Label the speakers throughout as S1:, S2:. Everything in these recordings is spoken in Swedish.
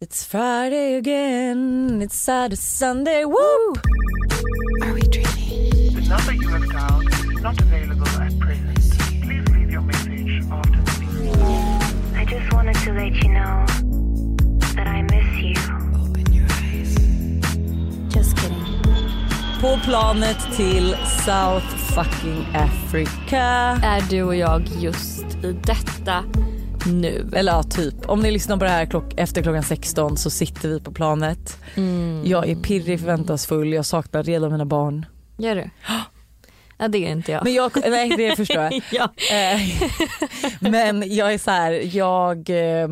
S1: It's Friday again, it's Saturday, Sunday, woo!
S2: Are we dreaming?
S3: The number you have dialed is not available at present. Please leave your message after the beep.
S4: I just wanted to let you know that I miss you.
S2: Open your eyes.
S4: Just kidding.
S1: På planet till South fucking Africa.
S5: är du och jag just i detta nu.
S1: Eller ja, typ. Om ni lyssnar på det här klock efter klockan 16 så sitter vi på planet.
S5: Mm.
S1: Jag är pirrig, förväntansfull, jag saknar redan mina barn.
S5: Gör du? Ja, det är inte jag.
S1: Men jag, nej det förstår jag.
S5: ja.
S1: Eh, Men jag är så här, jag, eh,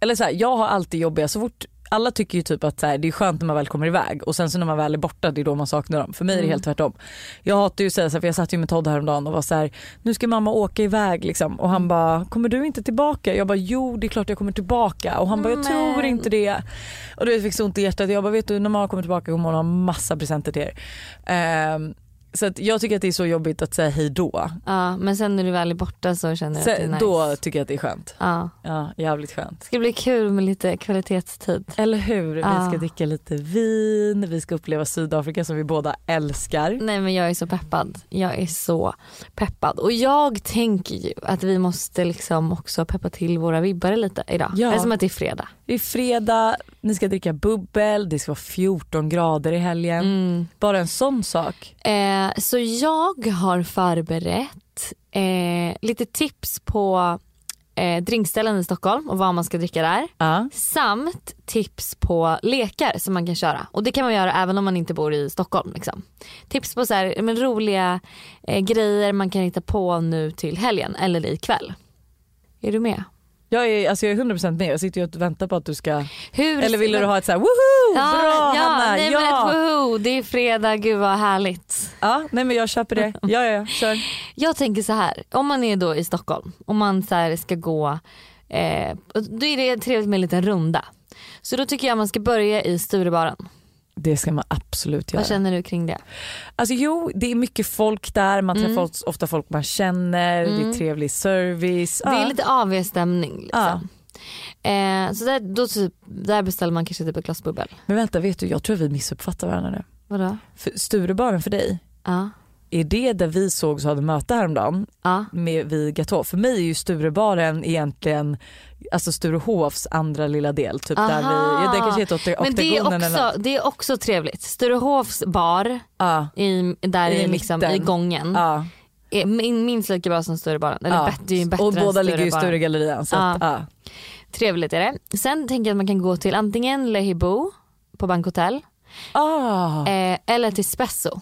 S1: eller så här, jag har alltid jobbiga så fort alla tycker ju typ att så här, det är skönt när man väl kommer iväg och sen så när man väl är borta det är då man saknar dem. För mig är det helt tvärtom. Jag hatar ju att säga så här, för jag satt ju med Todd häromdagen och var så här, nu ska mamma åka iväg liksom. Och han bara, kommer du inte tillbaka? Jag bara, jo det är klart jag kommer tillbaka. Och han bara, jag tror
S5: Men.
S1: inte det. Och du vet, jag fick så ont i hjärtat. Jag bara, vet du när mamma kommer tillbaka kommer hon ha massa presenter till er. Ehm, så att jag tycker att det är så jobbigt att säga hej då.
S5: ja, men sen när du väl är borta så känner jag att det är
S1: Sen,
S5: nice.
S1: Då tycker jag att det är skönt.
S5: Ja.
S1: Ja, jävligt skönt.
S5: Det ska bli kul med lite kvalitetstid.
S1: Eller hur? Vi ska
S5: Ja.
S1: dricka lite vin, vi ska uppleva Sydafrika som vi båda älskar.
S5: Nej men jag är så peppad. Jag är så peppad. Och jag tänker ju att vi måste liksom också peppa till våra vibbare lite idag.
S1: Ja.
S5: Eftersom att det är fredag.
S1: Det är fredag, ni ska dricka bubbel, det ska vara 14 grader i helgen.
S5: Mm.
S1: Bara en sån sak.
S5: Eh, så jag har förberett eh, lite tips på eh, drinkställen i Stockholm och vad man ska dricka där.
S1: Ja.
S5: Samt tips på lekar som man kan köra. Och det kan man göra även om man inte bor i Stockholm. Liksom. Tips på så här, men roliga eh, grejer man kan hitta på nu till helgen eller ikväll. Är du med?
S1: Jag, är, alltså jag är 100% med, jag sitter ju och väntar på att du ska...
S5: Hur
S1: Eller ville du ha ett så här woho! Bra
S5: ja,
S1: Hanna!
S5: Nej, Men
S1: ja.
S5: ett, woho, det är fredag, gud vad härligt.
S1: ja! Nej men jag köper det. Ja ja, ja. kör.
S5: Jag tänker så här, om man är då i Stockholm och man så här ska gå, eh, då är det trevligt med en liten runda. Så då tycker jag man ska börja i Sturebaren.
S1: Det ska man absolut göra.
S5: Vad känner du kring det?
S1: Alltså jo, det är mycket folk där, man
S5: Mm.
S1: träffar ots- ofta folk man känner, det är trevlig service.
S5: Det
S1: Ja.
S5: är lite AV-stämning. Liksom. Eh, så där, då typ, där beställer man kanske typ ett glas bubbel.
S1: Men vänta, vet du, jag tror vi missuppfattar varandra nu.
S5: Vadå?
S1: För Sturebaren för dig,
S5: Ja.
S1: är det där vi sågs och hade möte häromdagen
S5: ja.
S1: med vid Gatå? För mig är ju Sturebaren egentligen alltså Sturehofs andra lilla del. Typ där vi,
S5: Aha.
S1: ja, det kanske heter Okta-
S5: Men det är,
S1: Oktagonen eller något.
S5: också, det är också trevligt. Sturehofs bar
S1: Ja,
S5: i, där
S1: I
S5: i, liksom,
S1: mitten.
S5: i gången
S1: ja,
S5: är min- minst lika bra som Sturebaren. Eller
S1: ja.
S5: bättre, det är ju bättre
S1: och
S5: än
S1: båda ligger ju i
S5: Sturebaren.
S1: Sturegallerian. Så att, ja.
S5: Trevligt är det. Sen tänker jag att man kan gå till antingen Le Hibou på bankhotell
S1: Ah,
S5: eh, eller till Spesso.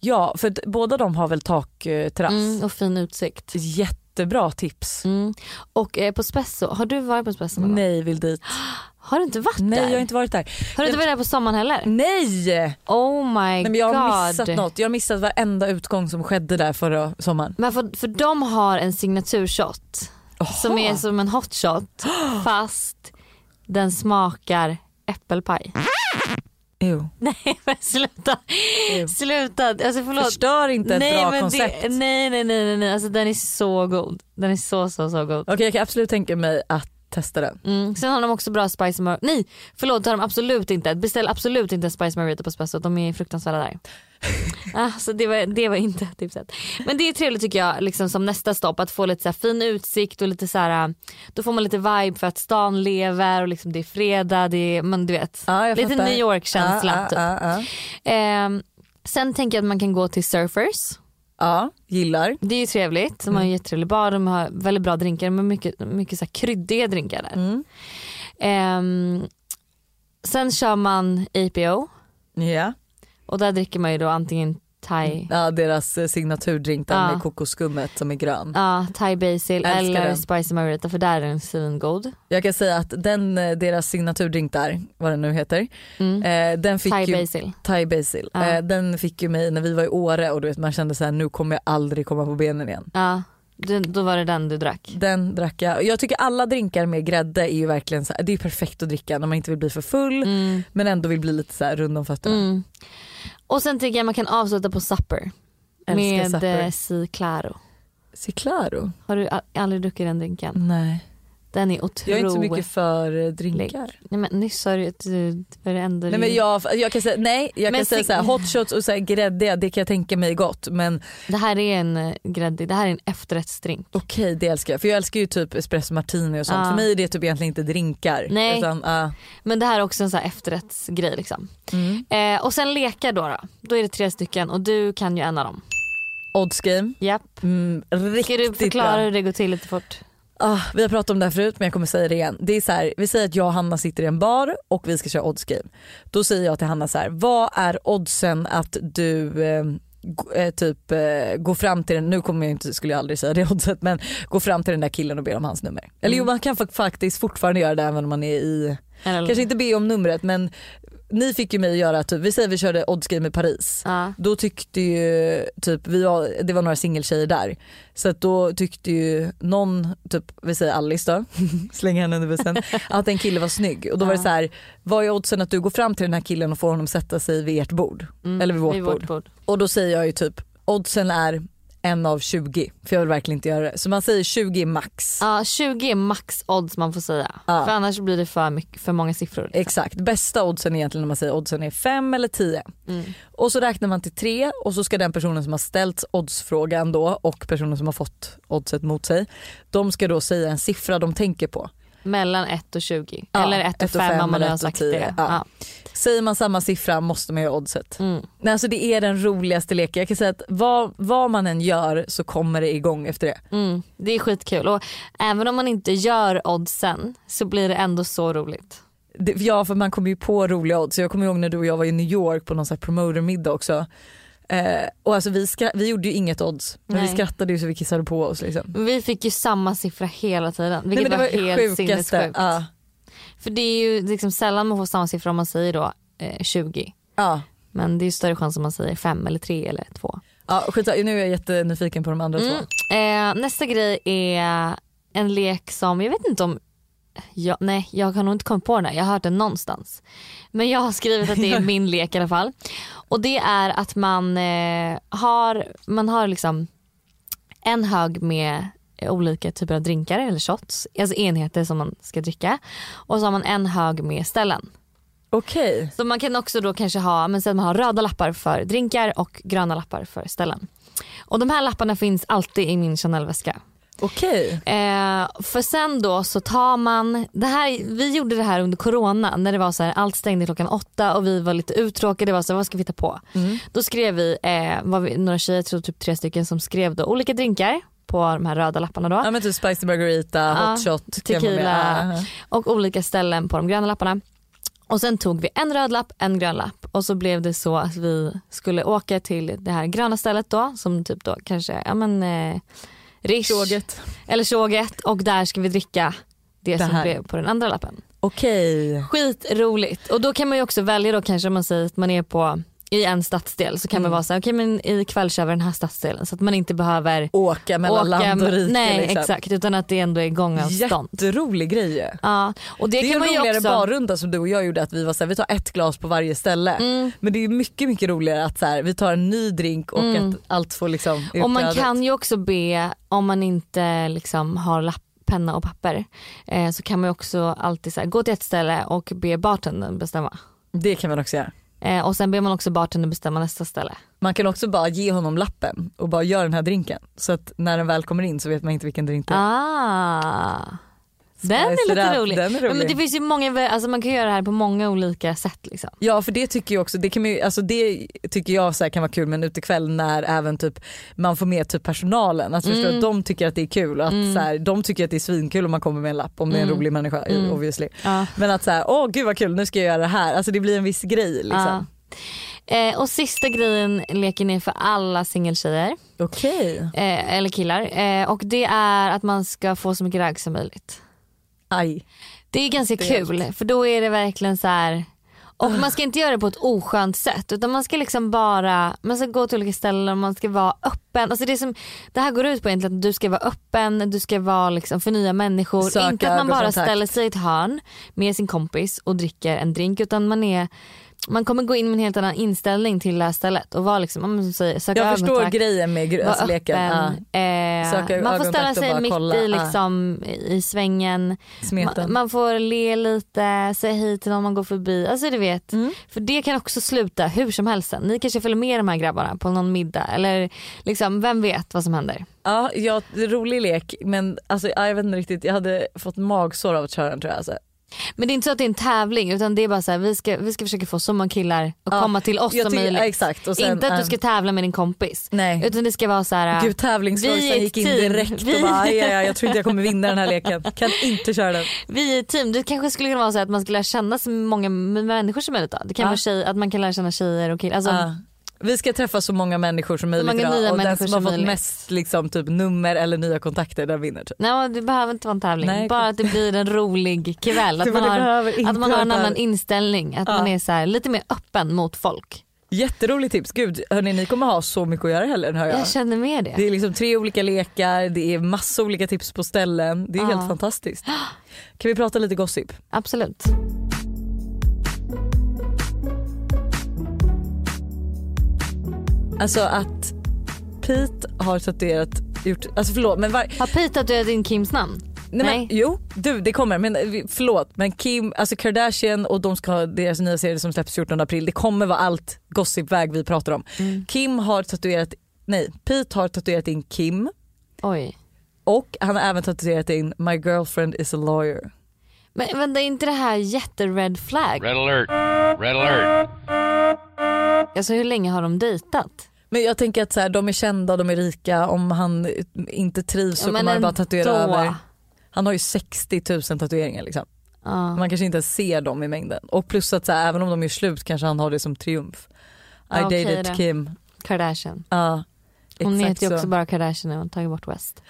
S1: ja, för att båda de har väl takterrass.
S5: Mm, och fin utsikt.
S1: Jättebra tips.
S5: Mm. Och eh, på Spesso, har du varit på Spesso någon gång?
S1: Nej, vill dit.
S5: Har du inte varit
S1: Nej,
S5: Mm. Ah, där?
S1: jag har inte varit där.
S5: Har du inte varit där på sommaren heller?
S1: Nej!
S5: Oh my
S1: Nej, men
S5: god.
S1: jag har missat något. Jag har missat varenda utgång som skedde där förra sommaren.
S5: Men för, för de har en signaturshot som är som en hot shot fast den smakar äppelpaj.
S1: Ew.
S5: Nej men sluta.
S1: Ew.
S5: Sluta. Alltså förlåt.
S1: Förstör inte ett bra
S5: men
S1: koncept.
S5: Det, nej nej nej nej, nej. Alltså, den är så god. Den är så så så god.
S1: Okej jag kan absolut tänka mig att testa den.
S5: Mm. Sen har de också bra spice mar- Nej förlåt det har de absolut inte. Beställ absolut inte en spice margarita på Espresso. De är fruktansvärda där. alltså, det, var, det var inte tipset. Men det är trevligt tycker jag liksom, som nästa stopp att få lite så här, fin utsikt och lite så här, ah, då får man lite vibe för att stan lever och liksom, det är fredag. Det är, men du vet,
S1: Ja, jag
S5: lite
S1: fattar.
S5: New York känsla.
S1: Ja,
S5: typ.
S1: ja, ja, ja.
S5: Ehm, sen tänker jag att man kan gå till Surfers.
S1: Ja, gillar.
S5: Det är ju trevligt. De har en jättetrevlig bar, de har väldigt bra drinkar men mycket, mycket så här kryddiga drinkar där.
S1: Mm.
S5: Ehm, sen kör man APO
S1: Ja.
S5: och där dricker man ju då antingen thai,
S1: ja, deras eh, signaturdrink där
S5: Ja.
S1: med kokosskummet som är grön.
S5: ja thai basil
S1: Älskar
S5: eller
S1: den.
S5: spicy margarita för där är den svingod.
S1: Jag kan säga att den, eh, deras signaturdrink där, vad den nu heter, eh, den fick
S5: Mm. Thai
S1: ju
S5: basil.
S1: Thai basil.
S5: Ja.
S1: Eh, den fick ju mig när vi var i Åre och du vet man kände så här nu kommer jag aldrig komma på benen igen.
S5: Ja, du, då var det den du drack.
S1: Den drack jag. Jag tycker alla drinkar med grädde är ju verkligen så här, det är perfekt att dricka när man inte vill bli för full men ändå vill bli lite så här rund om fötterna.
S5: Mm. Och sen tycker jag man kan avsluta på supper
S1: Älskar
S5: med
S1: supper.
S5: eh, Si Claro.
S1: Ciclaro?
S5: Har du a- aldrig druckit den drinken?
S1: Nej.
S5: Den är otrolig.
S1: Jag är inte så mycket för eh, drinkar.
S5: Nej men nyss sa du eh, att du- varenda
S1: Nej men jag, jag kan säga, nej, jag
S5: Men
S1: kan säga
S5: si-
S1: så här, hot shots och så här gräddiga det kan jag tänka mig gott men
S5: Det här är en eh, gräddig, det här är en efterrättsdrink.
S1: okej det älskar jag för jag älskar ju typ espresso martini och sånt.
S5: Ja.
S1: För mig är det typ egentligen inte drinkar.
S5: Nej.
S1: Utan, ah,
S5: Men det här är också en så här efterrättsgrej liksom.
S1: mm.
S5: Eh, och sen lekar då, då. Då är det tre stycken och du kan ju en av dem.
S1: Odds game.
S5: Japp.
S1: Mm,
S5: Ska
S1: riktigt
S5: du förklara
S1: bra.
S5: hur det går till lite fort?
S1: Ah, vi har pratat om det här förut men jag kommer säga det igen. Det är så här, vi säger att jag och Hanna sitter i en bar och vi ska köra odds game. Då säger jag till Hanna så här, vad är oddsen att du eh, g- eh, typ eh, går fram till den, nu kommer jag inte, skulle jag aldrig säga det oddset men gå fram till den där killen och ber om hans nummer. Eller jo
S5: Mm.
S1: man kan fa- faktiskt fortfarande göra det även om man är i,
S5: Eller,
S1: kanske inte be om numret men ni fick ju mig att göra typ, vi säger vi körde odds game i Paris.
S5: Ja.
S1: Då tyckte ju typ, vi var, det var några singeltjejer där. Så att då tyckte ju någon, typ, vi säger Alice då, slänger henne under bussen, att en kille var snygg. Och då var det så här, vad är oddsen att du går fram till den här killen och får honom sätta sig vid ert bord? Eller vid vårt,
S5: Mm. vid
S1: bord. Och då säger jag ju typ, oddsen är en av 20 för jag vill verkligen inte göra det. Så man säger 20 max.
S5: Ja, 20 är max odds man får säga.
S1: Ja.
S5: För annars blir det för, mycket, för många siffror. liksom.
S1: Exakt, bästa oddsen är egentligen när man säger oddsen är 5 eller 10.
S5: Mm.
S1: Och så räknar man till tre och så ska den personen som har ställt oddsfrågan då och personen som har fått oddset mot sig, de ska då säga en siffra de tänker på.
S5: Mellan 1 och 20.
S1: Ja,
S5: eller 1
S1: ett
S5: och
S1: och
S5: 5
S1: fem
S5: om man
S1: eller
S5: nu
S1: ett
S5: har
S1: och
S5: sagt
S1: tio.
S5: det.
S1: Ja. Säger man samma siffra måste man göra oddset.
S5: Ja. Mm.
S1: Nej, alltså det är den roligaste leken. Jag kan säga att vad, vad man än gör så kommer det igång efter det.
S5: Mm. Det är skitkul. Och även om man inte gör oddsen så blir det ändå så roligt.
S1: det ja, för man kommer ju på roliga odds. Jag kommer ihåg när du och jag var i New York på någon sån här promotermiddag också. Eh, och alltså vi, skra- vi gjorde ju inget odds men
S5: Nej.
S1: vi skrattade ju så vi kissade på oss liksom.
S5: Vi fick ju samma siffra hela tiden.
S1: Nej,
S5: Vilket
S1: men det var,
S5: var,
S1: det
S5: helt
S1: sjukaste.
S5: sinnessjukt.
S1: Ja,
S5: För det är ju liksom sällan man får samma siffra om man säger då eh, 20.
S1: ja.
S5: Men det är ju större chans om man säger 5 eller 3 eller 2.
S1: Ja, skit, nu är jag jättenyfiken på de andra
S5: Mm.
S1: två.
S5: Eh, nästa grej är en lek som, jag vet inte om, jag, nej jag har nog inte kommit på den här, jag har hört den någonstans. Men jag har skrivit att det är min lek i alla fall. Och det är att man eh, har, man har liksom en hög med eh, olika typer av drinkar eller shots, alltså enheter som man ska dricka. Och så har man en hög med ställen.
S1: Okej,
S5: Så man kan också då kanske ha, men sen man har röda lappar för drinkar och gröna lappar för ställen. Och de här lapparna finns alltid i min Chanel-väska.
S1: okej.
S5: Eh, för sen då så tar man, det här, vi gjorde det här under corona när det var så här, allt stängde klockan åtta och vi var lite uttråkade. Det var så här, vad ska vi hitta på? Då skrev vi, eh, var vi några tjejer, jag tror typ tre stycken som skrev då olika drinkar på de här röda lapparna då.
S1: Ja men typ spicy margarita,
S5: Ja,
S1: hot shot,
S5: tequila.
S1: chamomile.
S5: och olika ställen på de gröna lapparna. Och sen tog vi en röd lapp, en grön lapp och så blev det så att vi skulle åka till det här gröna stället då som typ då kanske, ja men eh, Rish
S1: Tåget.
S5: eller tjoget och där ska vi dricka det,
S1: Det
S5: som
S1: här.
S5: blev på den andra lappen.
S1: Okej.
S5: Skitroligt och då kan man ju också välja då kanske om man säger att man är på i en stadsdel så kan
S1: Mm.
S5: man vara så här, okej men ikväll kör vi den här stadsdelen så att man inte behöver
S1: Åka mellan land och rike.
S5: Nej
S1: liksom.
S5: exakt utan att det ändå är gångavstånd.
S1: Jätterolig grej ju.
S5: Ja, och det,
S1: Det,
S5: kan
S1: är
S5: man ju
S1: ju roligare
S5: också...
S1: barrunda som du och jag gjorde att vi var såhär, vi tar ett glas på varje ställe.
S5: Mm.
S1: Men det är ju mycket mycket roligare att såhär, vi tar en ny drink och att allt får liksom
S5: Mm. Och man
S1: utflödet.
S5: kan ju också be, om man inte liksom har lapp, penna och papper, eh, så kan man ju också alltid så här, gå till ett ställe och be bartendern bestämma.
S1: Det kan man också göra.
S5: Eh, och sen ber man också bartendern bestämma nästa ställe.
S1: Man kan också bara ge honom lappen och bara göra den här drinken. Så att när den väl kommer in så vet man inte vilken drink det är.
S5: Ah. Den är
S1: Spice it
S5: lite
S1: up,
S5: rolig.
S1: den är
S5: Men
S1: rolig.
S5: det finns ju många, alltså man kan göra det här på många olika sätt. Liksom.
S1: Ja för det tycker jag också, det, kan man ju, alltså det tycker jag så här kan vara kul men utekväll när även typ man får med typ personalen, alltså förstår
S5: Mm.
S1: att de tycker att det är kul och att så här, de tycker att det är svinkul om man kommer med en lapp om det är
S5: Mm.
S1: en rolig människa obviously.
S5: Ja.
S1: Men att såhär, åh gud vad kul nu ska jag göra det här, alltså det blir en viss grej
S5: Ah,
S1: liksom.
S5: Ja. Eh, och sista grejen leken är för alla singeltjejer
S1: Okej.
S5: eh, eller killar eh, och det är att man ska få så mycket ragg som möjligt.
S1: Aj.
S5: Det är ganska kul för då är det verkligen så här. Och man ska inte göra det på ett oskönt sätt utan man ska liksom bara, man ska gå till olika ställen och man ska vara öppen. Alltså det, som, det här går ut på egentligen att du ska vara öppen, du ska vara liksom för nya människor.
S1: Söka
S5: inte att man bara
S1: ögonkontakt.
S5: ställer sig i ett hörn med sin kompis och dricker en drink utan man är man kommer gå in med en helt annan inställning till det här stället och vara liksom, ja, men som säger, söka
S1: Jag förstår
S5: ögonkontakt,
S1: grejen med
S5: vara
S1: gränsleken. Ja.
S5: öppen, eh,
S1: Söka
S5: Man får
S1: ögonkontakt
S5: ställa
S1: och
S5: sig
S1: bara
S5: mitt
S1: kolla,
S5: i
S1: ja.
S5: liksom i svängen. Man,
S1: Smeten.
S5: man får le lite, säga hej till någon man går förbi. Alltså du vet.
S1: Mm.
S5: För det kan också sluta hur som helst sen. Ni kanske följer med de här grabbarna på någon middag eller liksom vem vet vad som händer.
S1: Ja, ja, det är en rolig lek men alltså, jag vet inte riktigt, jag hade fått magsår av att köra den tror jag. Alltså.
S5: Men det är inte så att det är en tävling utan det är bara så här, vi ska, vi ska försöka få så många killar att
S1: Ja,
S5: komma till oss
S1: jag
S5: som
S1: tycker-
S5: möjligt.
S1: ja, exakt. Och sen,
S5: inte att du
S1: ja.
S5: ska tävla med din kompis.
S1: Nej.
S5: Utan det ska vara så här.
S1: Gud
S5: vi är
S1: tävlingssorgsen
S5: ett
S1: gick in
S5: team.
S1: direkt
S5: Vi-
S1: och bara aj, aj, aj, jag tror inte jag kommer vinna den här leken. Kan inte köra den.
S5: Vi är ett team. Det kanske skulle kunna vara så att man skulle lära känna så många människor som möjligt. Då. Det kan
S1: Ja.
S5: vara tjej, att man kan lära känna tjejer och killar. Alltså,
S1: Ja. Vi ska träffa så många människor som möjligt
S5: många
S1: idag,
S5: nya
S1: och den
S5: människor
S1: som har
S5: som
S1: fått
S5: möjligt.
S1: mest liksom, typ, nummer eller nya kontakter den vinner. Typ.
S5: Nej men det behöver inte vara en tävling.
S1: Nej,
S5: Bara
S1: exakt.
S5: att det blir en rolig kväll. Att
S1: Det
S5: man har,
S1: behöver inte
S5: att man har en
S1: vara
S5: annan
S1: där.
S5: inställning. Att
S1: Ja.
S5: man är så här, lite mer öppen mot folk.
S1: Jätteroligt tips. Gud, hörni, ni kommer ha så mycket att göra i helgen hör jag.
S5: Jag känner med det.
S1: Det är liksom tre olika lekar, det är massa olika tips på ställen. Det är
S5: Ja.
S1: helt fantastiskt. Kan vi prata lite gossip?
S5: Absolut.
S1: Alltså att Pete har tatuerat, gjort, alltså förlåt men, var, nej
S5: Har Pete tatuerat in Kims namn?
S1: men
S5: Nej.
S1: jo du det kommer men eh, förlåt men Kim, alltså Kardashian och de ska ha deras nya serie som släpps 14 april det kommer vara allt gossipväg vi pratar om.
S5: Mm.
S1: Kim har tatuerat, nej Pete har tatuerat in Kim
S5: Oj.
S1: och han har även tatuerat in My girlfriend is a lawyer.
S5: Men vänta, är inte det här jättered flag?
S6: Red alert. Red alert.
S5: Alltså hur länge har de dejtat?
S1: Men jag tänker att så här, de är kända, de är rika, om han eh, inte trivs så
S5: Ja, men
S1: kommer han bara
S5: ändå.
S1: tatuera över. Han har ju 60 000 tatueringar liksom.
S5: Ja.
S1: Man kanske inte ens ser dem i mängden. Och plus att så här, även om de gör slut kanske han har det som triumf. I
S5: Ja, okej
S1: dated
S5: då.
S1: Kim.
S5: Kardashian.
S1: Ja,
S5: Hon
S1: exakt
S5: heter ju också
S1: så.
S5: bara Kardashian och har tagit bort West.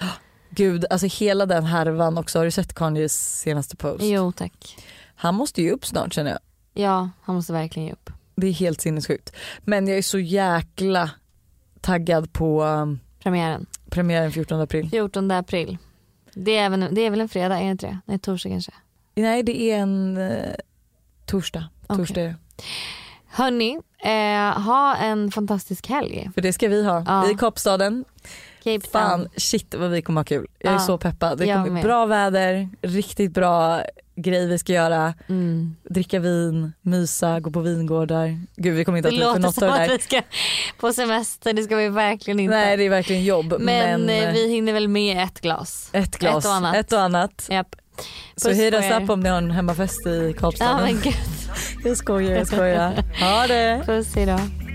S1: Gud, alltså hela den härvan också. Har du sett Kanyes senaste post?
S5: Jo tack.
S1: Han måste ju upp snart känner jag.
S5: Ja, han måste verkligen ge upp.
S1: Det är helt sinnessjukt. Men jag är så jäkla taggad på um,
S5: Premiären.
S1: premiären 14 april.
S5: 14 april. Det är, även, det är väl en fredag, är det inte det? Nej, torsdag kanske.
S1: Nej det är en eh, torsdag.
S5: Okej.
S1: torsdag. är det.
S5: Hörni, eh, ha en fantastisk helg.
S1: För det ska vi ha
S5: Ja.
S1: i Kapstaden.
S5: Cape
S1: Fan
S5: Town.
S1: shit vad vi kommer ha kul. Jag är
S5: Ja,
S1: så peppad. Det
S5: jag
S1: kommer
S5: med.
S1: bra väder, riktigt bra grej vi ska göra.
S5: Mm.
S1: Dricka vin, mysa, gå på vingårdar. Gud vi kommer inte
S5: Det
S1: att ha tid för
S5: låter
S1: något
S5: som
S1: av det
S5: att
S1: där.
S5: vi ska på semester, det ska vi verkligen inte.
S1: Nej det är verkligen jobb.
S5: men
S1: Men, eh,
S5: eh, vi hinner väl med ett glas.
S1: ett glas,
S5: ett och annat.
S1: Ett och annat.
S5: Japp.
S1: Så
S5: Puss på
S1: hit oss
S5: er.
S1: upp om ni har en hemmafest i
S5: Ja
S1: Kapstaden.
S5: men gud.
S1: jag skojar, jag skojar. Ha det!
S5: Puss idag.